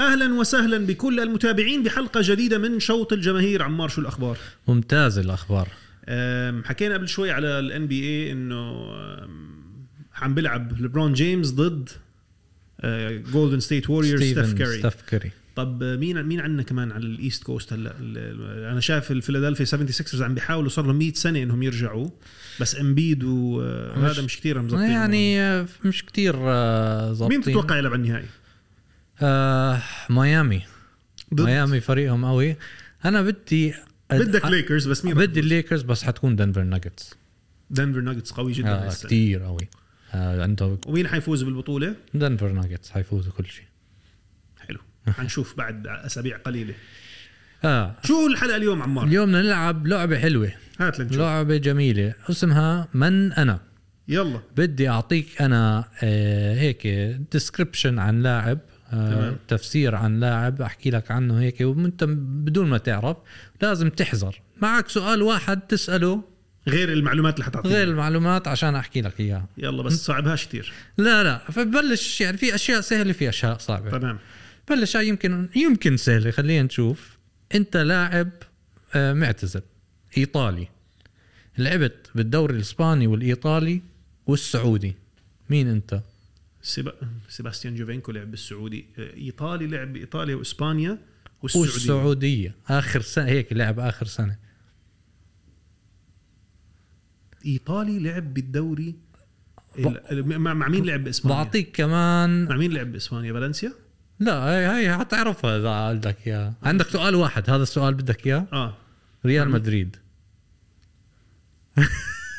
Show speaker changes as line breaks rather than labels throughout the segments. اهلا وسهلا بكل المتابعين بحلقه جديده من شوط الجماهير عمار شو الاخبار
ممتاز الاخبار
أم، حكينا قبل شوي على الان بي اي انه أم، عم بيلعب لبرون جيمس ضد آه، جولدن ستيت ووريرز ستيف كاري
ستيف كاري
طب آه، مين مين عندنا كمان على الايست كوست هلا ال- ال- انا شايف الفيلادلفيا 76 عم بيحاولوا صار لهم 100 سنه انهم يرجعوا بس امبيد وهذا
مش-
مش كثير مزبطين
يعني آه، مش كتير آه، ظابطين
مين تتوقع يلعب على النهائي؟
آه ميامي
ضد-
ميامي فريقهم قوي انا بدي
بدك
أ-
ليكرز بس مين
بدي الليكرز بس حتكون دنفر ناجتس
دنفر ناجتس قوي جدا
آه
هالسنة.
كتير قوي آه انت
ومين حيفوز بالبطوله؟
دنفر ناجتس حيفوزوا كل شيء
حلو حنشوف بعد اسابيع قليله
اه
شو الحلقه اليوم عمار
اليوم بدنا نلعب لعبه حلوه
هات لنشوف
لعبه جميله اسمها من انا
يلا
بدي اعطيك انا آه، هيك ديسكربشن عن لاعب آه،
تمام.
تفسير عن لاعب احكي لك عنه هيك وانت بدون ما تعرف لازم تحذر معك سؤال واحد تساله
غير المعلومات اللي حتعطيها
غير
غير
المعلومات عشان احكي لك اياها
يلا بس صعبهاش كثير
لا لا فبلش يعني في اشياء سهله في اشياء صعبه
تمام
بلش هاي يمكن يمكن سهله خلينا نشوف انت لاعب آه، معتزل ايطالي لعبت بالدوري الاسباني والايطالي والسعودي مين انت؟
سيبا... سيباستيان جوفينكو لعب بالسعودي آه، ايطالي لعب بايطاليا واسبانيا والسعوديه والسعود.
والسعودية آخر سنة هيك لعب آخر سنة
ايطالي لعب بالدوري ال- ال- مع... مع مين لعب باسبانيا؟
بعطيك كمان
مع مين لعب باسبانيا؟ فالنسيا؟
لا هاي هاي حتعرفها إذا بدك إياها عندك سؤال واحد هذا السؤال بدك إياه
اه
ريال مدريد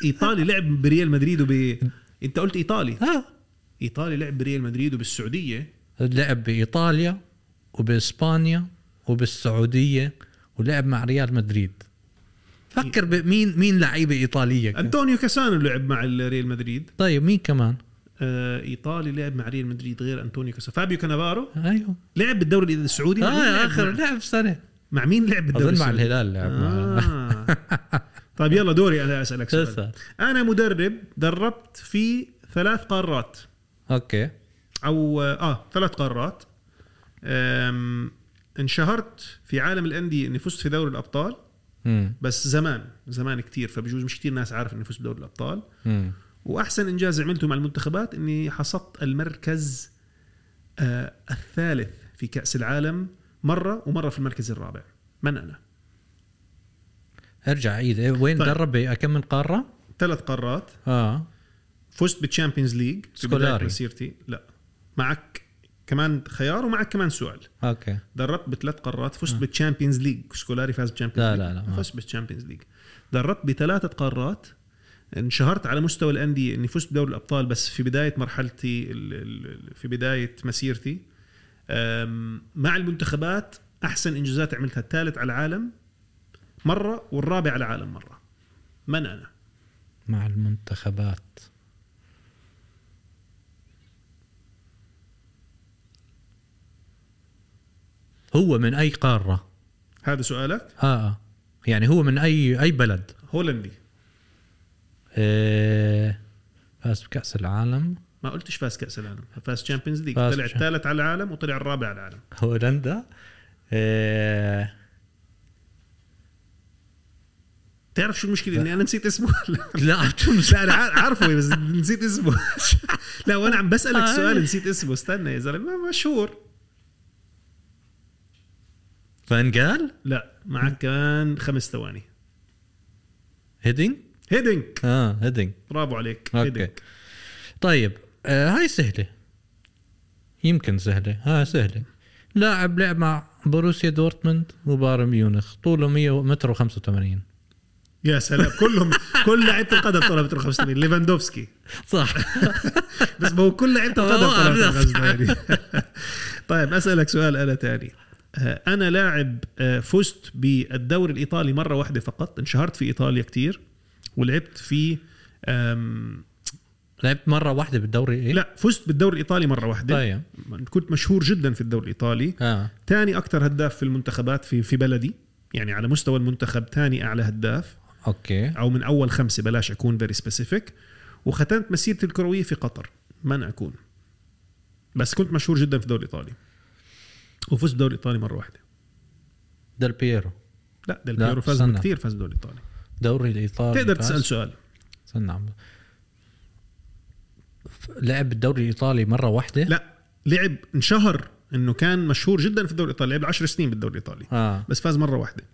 ايطالي لعب بريال مدريد وب انت قلت ايطالي
ها
ايطالي لعب بريال مدريد وبالسعوديه
لعب بإيطاليا وبإسبانيا وبالسعودية ولعب مع ريال مدريد فكر بمين مين لعيبة إيطالية كمان.
انطونيو كاسانو لعب مع ال- ريال مدريد
طيب مين كمان
آه، ايطالي لعب مع ريال مدريد غير انطونيو كاسا فابيو كانافارو
أيوه
لعب بالدوري السعودي مع مين
آه
لعب
آخر
مع-
لعب سنة
مع مين لعب بالدوري
أظن مع
السعودي؟
الهلال لعب مع-
آه. طيب يلا دوري انا اسالك سؤال
تسأل.
انا مدرب دربت في ثلاث قارات
أوكي
او اه ثلاث قارات أم، انشهرت في عالم الانديه اني فزت في دوري الابطال
مم.
بس زمان زمان كتير فبجوز مش كتير ناس عارف اني فزت بدوري الابطال
مم.
واحسن انجاز عملته مع المنتخبات اني حصدت المركز آه الثالث في كاس العالم مره ومره في المركز الرابع من انا
ارجع عيد إيه، وين
طيب. آه.
طيب. درب كم من قاره؟
ثلاث قارات
اه
فزت بالتشامبيونز ليج في بداية
سكولاري.
مسيرتي لا معك كمان خيار ومعك كمان سؤال
اوكي
دربت بثلاث قارات فزت بالتشامبيونز ليج سكولاري فاز بالتشامبيونز
آه. لا،
ليج
لا، لا، ما.
فزت بالتشامبيونز ليج دربت بثلاثة قارات انشهرت على مستوى الأندية إني فزت بدوري الأبطال بس في بداية مرحلتي ال- ال- ال- في بداية مسيرتي أم، مع المنتخبات أحسن إنجازات عملتها الثالث على العالم مرة والرابع على العالم مرة من أنا؟
مع المنتخبات هو من اي قاره؟
هذا سؤالك
اه آه. يعني هو من اي اي بلد؟
هولندي
آه. فاز بكاس العالم
ما قلتش فاز كأس العالم فاز تشامبيونز ليج
فاز
طلع
Champions-
الثالث على العالم وطلع الرابع على العالم
هولندا آه.
تعرف شو المشكله اني انا نسيت اسمه
لا
لا انا عار- عارفه بس نسيت اسمه لا وانا عم بسالك
آه.
سؤال نسيت اسمه استنى يا زلمه مشهور
فانجال
لا معك كمان خمس ثواني
هيدينج
هيدنك
اه هيدينج
برافو عليك
اوكي
هيدنك
طيب آه هاي سهلة يمكن سهلة ها سهلة لاعب لعب مع بروسيا دورتموند وبايرن ميونخ طوله 100 متر و85
يا سلام كلهم كل لعيبه القدم طلعوا متر 85 ليفاندوفسكي
صح
بس ما هو كل لعيبه القدم
آه،
طلعوا متر
بس.
85 طيب اسالك سؤال انا تاني آه، انا لاعب آه، فزت بالدوري الايطالي مره واحده فقط انشهرت في ايطاليا كتير ولعبت في آم،
لعبت مرة واحدة بالدوري ايه؟
لا فزت بالدوري الايطالي مره واحده
طيب
كنت مشهور جدا في الدوري الايطالي
اه
ثاني اكثر هداف في المنتخبات في في بلدي يعني على مستوى المنتخب ثاني اعلى هداف
اوكي
او من اول خمسه بلاش اكون فيري سبيسيفيك وختمت مسيرتي الكرويه في قطر من اكون بس كنت مشهور جدا في الدوري الايطالي وفزت بالدوري الايطالي مره واحده
ديل بييرو
لا ديل
لا،
بيرو فاز
استنى.
كثير فاز بالدوري الايطالي
دوري الايطالي
تقدر
فاز.
تسال سؤال
استنى عم ف- لعب الدوري الايطالي مره واحده
لا لعب انشهر انه كان مشهور جدا في الدوري الايطالي لعب 10 سنين بالدوري الايطالي
اه
بس فاز مره واحده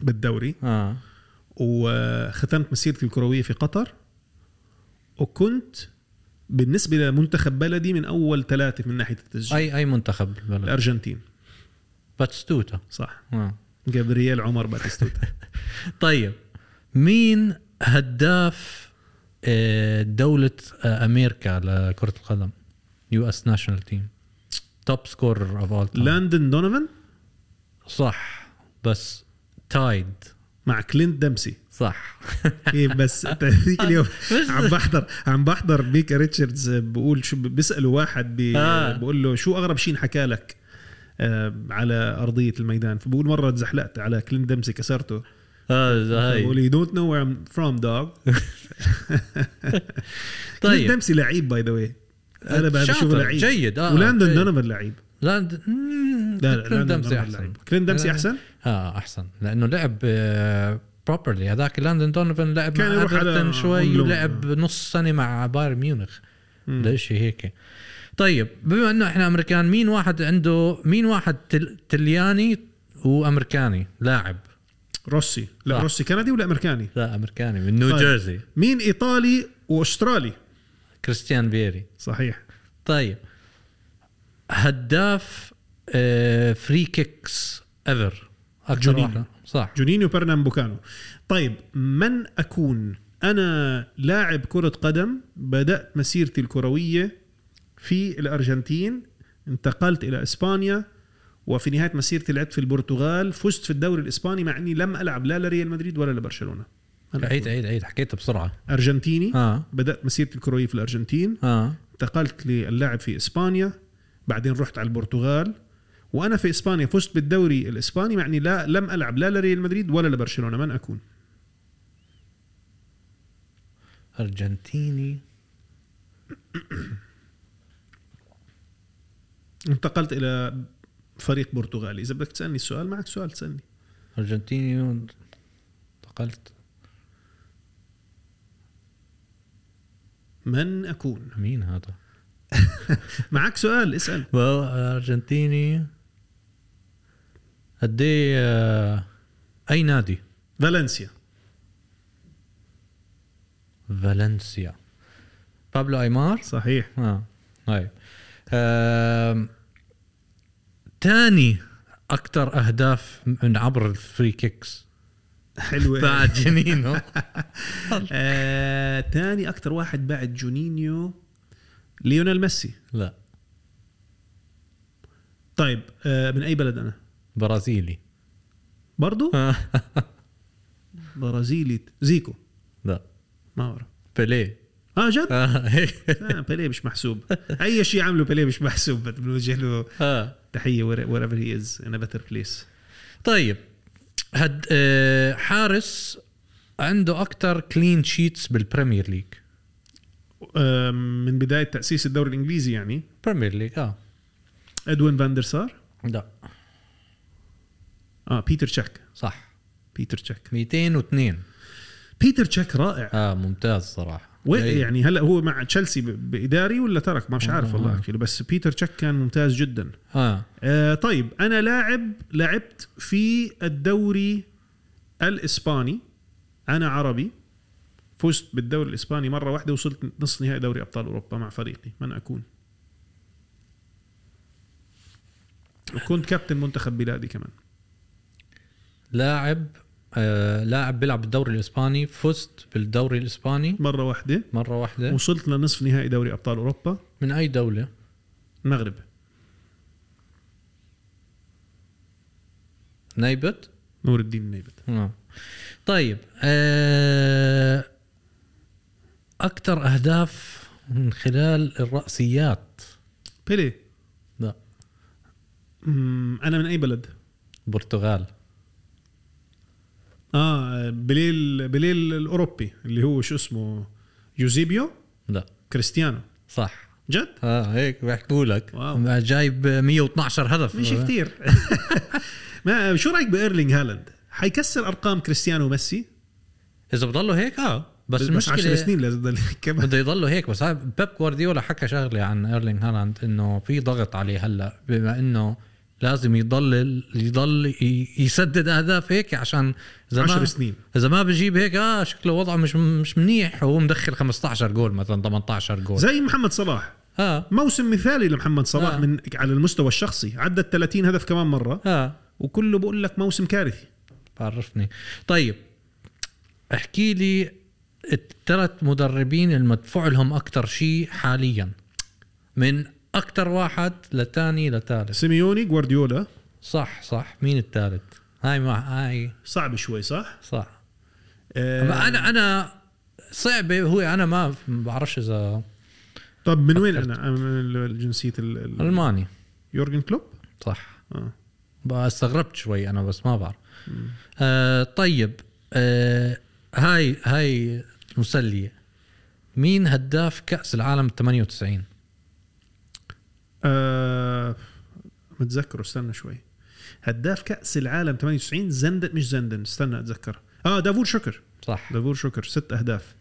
بالدوري
اه
وختمت مسيرتي الكرويه في قطر وكنت بالنسبه لمنتخب بلدي من اول ثلاثه من ناحيه التسجيل
اي اي منتخب بالبلد
الارجنتين
باتستوتا
صح
آه.
جابرييل عمر باتيستوتا
طيب مين هداف آه، دولة آه، امريكا لكرة القدم يو اس ناشونال تيم توب سكورر اوف اول تايم
لاندن دونوفان
صح بس تايد
مع كلينت دمسي
صح
كيف بس أنت هذيك اليوم
بس-
عم بحضر عم بحضر ميكا ريتشاردز بقول شو بيسالوا واحد بي
آه.
بقول له شو اغرب شيء انحكى لك آه، على ارضيه الميدان فبقول مره تزحلقت على كلينت دمسي كسرته بقول
هذا آه، هاي
لي دونت نو وير ام فروم دوغ كلينت
طيب
دمسي لعيب باي ذا واي انا بهذا
شاطر،
شوفه لعيب
جيد اه
ولاندن
جيد.
دونوفان لعيب
لاند مم،
لا لا
كلينت
لاندن
دمسي
دونوفان
احسن
لعيب كلينت دمسي
لا، لا.
احسن
اه احسن لانه لعب بروبرلي هذاك لاندن دونوفن لعب
كان
مع
يروح على
ايفرتون شوي
هولندا.
ولعب نص سنه مع بايرن ميونخ
مم.
ولا شيء هيك طيب بما انه احنا امريكان مين واحد عنده مين واحد تل... تلياني وامريكاني لاعب
روسي لا
صح.
روسي كندي ولا امريكاني
لا امريكاني من نيو
طيب.
جيرسي
مين ايطالي واسترالي
كريستيان بيري
صحيح
طيب هداف آه فري كيكس ايفر اكثر
جونينيو.
واحد صح
جونينيو برنامبوكانو طيب من اكون انا لاعب كرة قدم بدأت مسيرتي الكروية في الارجنتين انتقلت الى اسبانيا وفي نهاية مسيرتي لعبت في البرتغال فزت في الدوري الاسباني مع اني لم العب لا لريال مدريد ولا لبرشلونة أنا
عيد
أكون
عيد عيد حكيت بسرعه
ارجنتيني
اه
بدأت مسيرتي الكروية في الارجنتين
اه
انتقلت للاعب في اسبانيا بعدين رحت على البرتغال وانا في اسبانيا فزت بالدوري الاسباني مع اني لا لم العب لا لريال مدريد ولا لبرشلونه من اكون
ارجنتيني
انتقلت الى فريق برتغالي اذا بدك تسالني السؤال معك سؤال تسالني
ارجنتيني و- انتقلت
من اكون
مين هذا؟
معك سؤال اسال
والله ارجنتيني قد ايه آه، اي نادي؟
فالنسيا
فالنسيا بابلو ايمار؟
صحيح
اه طيب آم، Eh, تاني اكثر اهداف من عبر الفري كيكس
حلوه
بعد جنينو
آه، تاني اكثر واحد بعد جونينيو ليونيل ميسي
لا
طيب آه، من اي بلد انا
برازيلي
برضو
آه،
برازيلي زيكو
لا
ما بعرف
بيليه
اه جد
آه، هيك.
آه، بيليه مش محسوب اي شيء عمله بيليه مش محسوب بنوجه له
آه.
تحيه وير ايفر هي از ان بيتر بليس
طيب هد آه، حارس عنده اكثر كلين شيتس بالبريمير ليج
من بدايه تاسيس الدوري الانجليزي يعني
بريمير ليج اه
ادوين فاندر سار
لا
اه بيتر تشيك
صح
بيتر تشيك
202
بيتر تشيك رائع
اه ممتاز صراحه
وين
جيد.
يعني هلا هو مع تشيلسي ب- باداري ولا ترك مش عارف والله اكشلي بس بيتر تشيك كان ممتاز جدا
اه
آه طيب انا لاعب لعبت في الدوري الاسباني انا عربي فزت بالدوري الاسباني مره واحده وصلت نص نهائي دوري ابطال اوروبا مع فريقي من اكون كنت كابتن منتخب بلادي كمان
لاعب آه لاعب بيلعب بالدوري الاسباني فزت بالدوري الاسباني
مره واحده
مره واحده
وصلت لنصف نهائي دوري ابطال اوروبا
من اي دوله
المغرب
نيبت
نور الدين النيبت
آه. طيب آه اكثر اهداف من خلال الراسيات
بيلي
لا
أمم، انا من اي بلد
برتغال
اه بليل بليل الاوروبي اللي هو شو اسمه يوزيبيو
لا
كريستيانو
صح
جد
اه هيك بحكوا لك
واو.
ما جايب 112 هدف
مش كثير ما شو رايك بايرلينج هالاند حيكسر ارقام كريستيانو وميسي
اذا بضلوا هيك اه
بس,
بس,
بس
المشكله
10 سنين لازم يضل كمان
بده يضلوا هيك بس هاد بيب جوارديولا حكى شغله عن ايرلينغ هالاند انه في ضغط عليه هلا بما انه لازم يضل يضل ي- يسدد اهداف هيك عشان اذا
10
ما
سنين
اذا ما بجيب هيك اه شكله وضعه مش مش منيح وهو مدخل 15 جول مثلا 18 جول
زي محمد صلاح
اه
موسم مثالي لمحمد صلاح
آه.
من على المستوى الشخصي عدى 30 هدف كمان مره
اه
وكله بقول لك موسم كارثي
بعرفني طيب احكي لي الثلاث مدربين المدفوع لهم اكثر شيء حاليا من اكثر واحد لثاني لثالث
سيميوني جوارديولا
صح صح مين الثالث هاي مع هاي
صعب شوي صح
صح
آه
انا انا صعبه هو انا ما بعرفش اذا
طب من وين انا أنا من جنسيه ال- ال-
الماني
يورجن كلوب
صح
آه.
بقى استغربت شوي انا بس ما بعرف آه طيب آه هاي هاي مسليه مين هداف كاس العالم 98
آه متذكره استنى شوي هداف كاس العالم 98 زندن مش زندن استنى اتذكر اه دافور شكر
صح
دافور شكر ست اهداف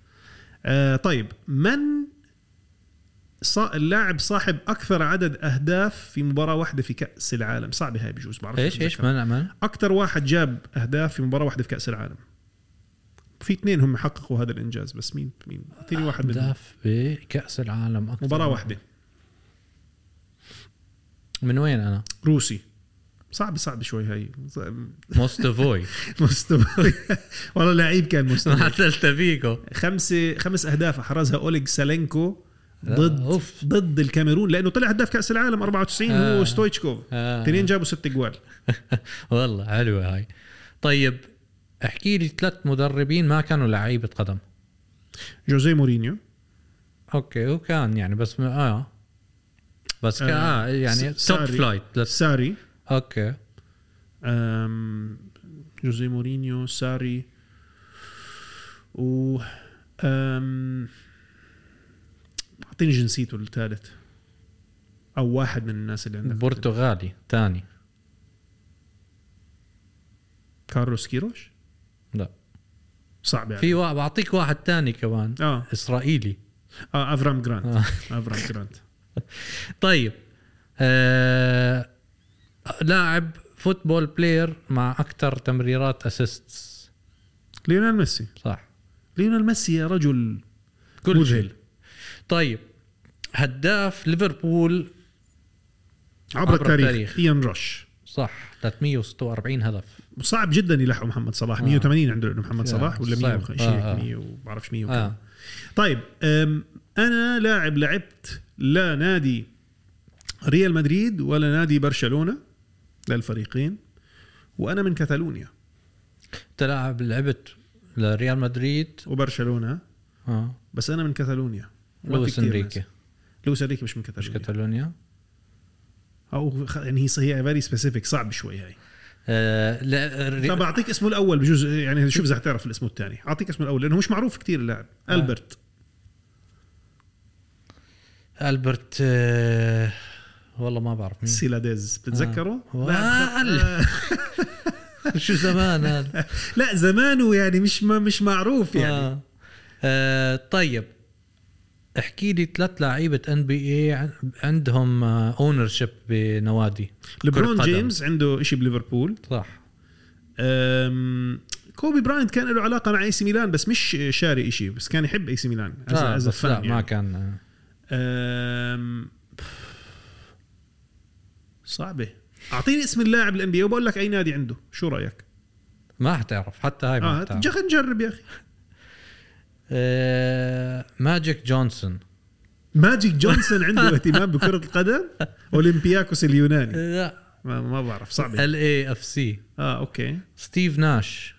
آه طيب من صا... اللاعب صاحب اكثر عدد اهداف في مباراه واحده في كاس العالم صعبه هاي بجوز بعرف
ايش ايش ما ما
اكثر واحد جاب اهداف في مباراه واحده في كاس العالم في اثنين هم حققوا هذا الانجاز بس مين مين اعطيني واحد منهم
هداف بكاس العالم اكثر
مباراه واحده
من وين انا؟
روسي صعب صعب شوي هاي
موستوفوي
مستوى والله لعيب كان مستوى
مع سيلتا فيجو
خمسه خمس اهداف احرزها اوليغ سالينكو
لا،
ضد
أوف.
ضد الكاميرون لانه طلع هداف كاس العالم 94
آه.
هو ستويتشكوف
آه.
اثنين جابوا ست جوال
والله حلوه هاي طيب احكي لي ثلاث مدربين ما كانوا لعيبه قدم
جوزيه مورينيو
اوكي هو كان يعني بس ما اه بس كان آه
آه،
يعني
س-
توب
ساري.
فلايت بس-
ساري
اوكي
أم، جوزيه مورينيو ساري و أم، اعطيني جنسيته الثالث او واحد من الناس اللي عندك
برتغالي ثاني
كارلوس كيروش
لا
صعب يعني
في واحد بعطيك واحد ثاني كمان
اه
اسرائيلي
اه افرام جرانت
آه.
افرام جرانت
طيب آه... لاعب فوتبول بلاير مع اكثر تمريرات اسيستس
ليونيل ميسي
صح
ليونيل ميسي يا رجل مذهل.
شيء. طيب هداف ليفربول
عبر,
عبر
التاريخ.
التاريخ.
ايان روش
صح 346 هدف
صعب جدا يلحقوا محمد صلاح 180 عنده لأنه محمد
آه،
صلاح ولا 100
صعب.
وخ-
آه،
شيء
آه.
هيك 100 وبعرفش 100 وكم
اه
طيب أم، انا لاعب لعبت لا نادي ريال مدريد ولا نادي برشلونه للفريقين وانا من كتالونيا
تلعب لعبت لريال مدريد
وبرشلونه
اه
بس انا من كتالونيا وأنت
لويس
كتير
انريكي
ناس. لويس انريكي مش من
مش
كتالونيا
كاتالونيا
او خ- يعني هي هي فيري سبيسيفيك صعب شوي هاي
آه لا ري...
طب اعطيك اسمه الاول بجوز يعني شوف اذا حتعرف الاسم الثاني اعطيك اسمه الاول لانه مش معروف كثير اللاعب
آه.
البرت
البرت آه والله ما بعرف مين
سيلاديز بتتذكره؟
آه.
لا،
وال-
آه.
شو زمان هذا
لا زمانه يعني مش ما مش معروف يعني
آه. آه طيب احكي لي ثلاث لعيبه ان بي اي عندهم اونر شيب بنوادي
ليبرون
كرة قدم.
جيمس عنده شيء بليفربول
صح
أم، كوبي براينت كان له علاقه مع اي سي ميلان بس مش شاري شيء بس كان يحب اي سي ميلان as a-
آه
as a
بس
fan
لا
يعني.
ما كان آه.
أم، صعبه اعطيني اسم اللاعب الان بي وبقول لك اي نادي عنده شو رايك
ما حتعرف حتى هاي ما
اه
حتعرف
خلينا نجرب يا اخي
آه ماجيك جونسون
ماجيك جونسون عنده اهتمام بكره القدم اولمبياكوس اليوناني
لا
ما, ما بعرف صعب
ال اي اف سي
اه اوكي
ستيف ناش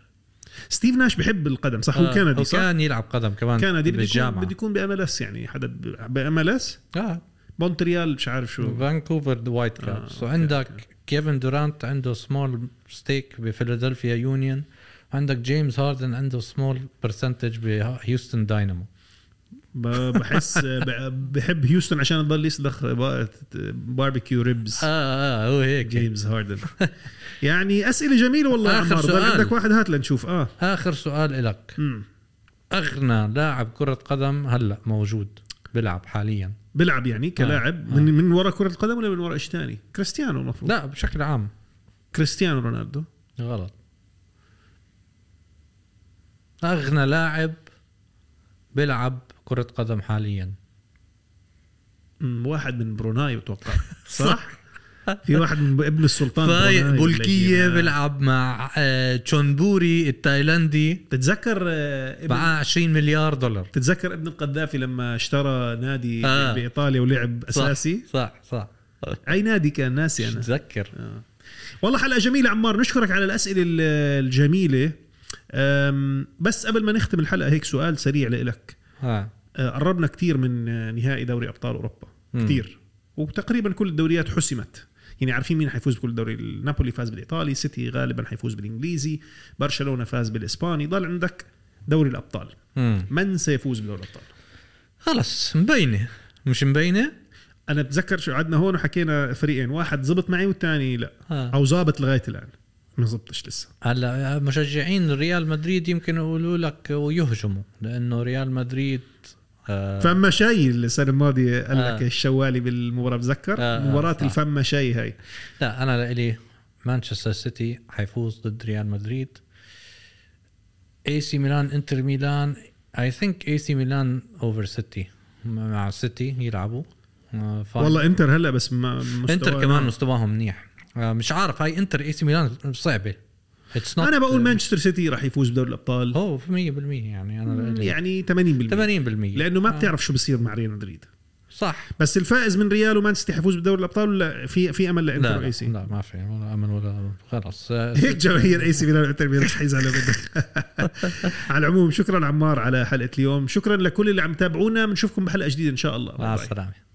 ستيف ناش بحب القدم صح هو
آه،
كندي صح
وكان يلعب قدم كمان
كندي بده يكون
بالجامعه
بده يكون بام ال اس يعني حدا بام ال اس
اه
مونتريال مش عارف شو
فانكوفر وايت كابس وعندك كيفن دورانت عنده سمول ستيك بفيلادلفيا يونيون عندك جيمس هاردن عنده سمول برسنتج بهيوستن داينامو
ب- بحس ب- بحب هيوستن عشان يضل يسلخ ب- باربيكيو ريبز
اه اه هو هيك
جيمس هاردن يعني اسئله جميله والله يا
آخر
عمار ضل
سؤال.
عندك واحد هات لنشوف اه
اخر سؤال لك
امم
اغنى لاعب كره قدم هلا موجود بيلعب حاليا
بلعب يعني كلاعب
آه.
من من ورا كره القدم ولا من ورا ايش ثاني كريستيانو المفروض
لا بشكل عام
كريستيانو رونالدو
غلط اغنى لاعب بيلعب كره قدم حاليا
أمم، واحد من بروناي بتوقع صح في واحد من ابن السلطان
فايق
بروناي
بولكيه
بالليل. آه.
بيلعب مع آه، تشونبوري التايلندي
بتتذكر آه، ابن
معاه 20 مليار دولار
بتتذكر ابن القذافي لما اشترى نادي آه.
آه.
بايطاليا ولعب اساسي
صح صح
اي نادي كان ناسي انا
تذكر
آه. والله حلقه جميله عمار نشكرك على الاسئله ال- الجميله أم، بس قبل ما نختم الحلقه هيك سؤال سريع لإلك
ها
آه، قربنا كثير من آه، نهائي دوري ابطال اوروبا
مم.
كثير وتقريبا كل الدوريات حسمت يعني عارفين مين حيفوز بكل دوري نابولي فاز بالايطالي سيتي غالبا حيفوز بالانجليزي برشلونه فاز بالاسباني ضل عندك دوري الابطال
مم.
من سيفوز بدوري الابطال
خلص مبينه مش مبينه
انا بتذكر شو قعدنا هون وحكينا فريقين واحد زبط معي والثاني لا
آه.
او زابط لغايه الان ما زبطش لسه
هلا مشجعين ريال مدريد يمكن يقولوا لك ويهجموا لانه ريال مدريد آه
فما شاي السنه الماضيه قال لك
آه.
الشوالي بالمباراه بتذكر
آه، آه،
مباراه
صح.
الفما شاي هاي
لا انا لإلي مانشستر سيتي حيفوز ضد ريال مدريد اي سي ميلان انتر ميلان اي ثينك اي سي ميلان اوفر سيتي مع سيتي يلعبوا آه، فاين.
والله انتر هلا بس ما مستوى
انتر كمان مستواهم منيح آه، مش عارف هاي انتر اي سي ميلان صعبه اتس
انا بقول مانشستر سيتي راح يفوز بدوري الابطال
هو 100% يعني انا لإلي
يعني 80%
80%
لانه ما بتعرف شو بصير مع ريال مدريد
صح
بس الفائز من ريال ومان سيتي حيفوز بدوري الابطال ولا في في امل لانتر
لا
واي
لا,
سي
لا ما في ولا امل ولا أمل. خلص آه،
هيك جماهير اي سي ميلان وانتر ميلان رح يزعلوا منك على العموم شكرا عمار على حلقه اليوم شكرا لكل اللي عم تابعونا بنشوفكم بحلقه جديده ان شاء الله
مع
باي باي.
السلامه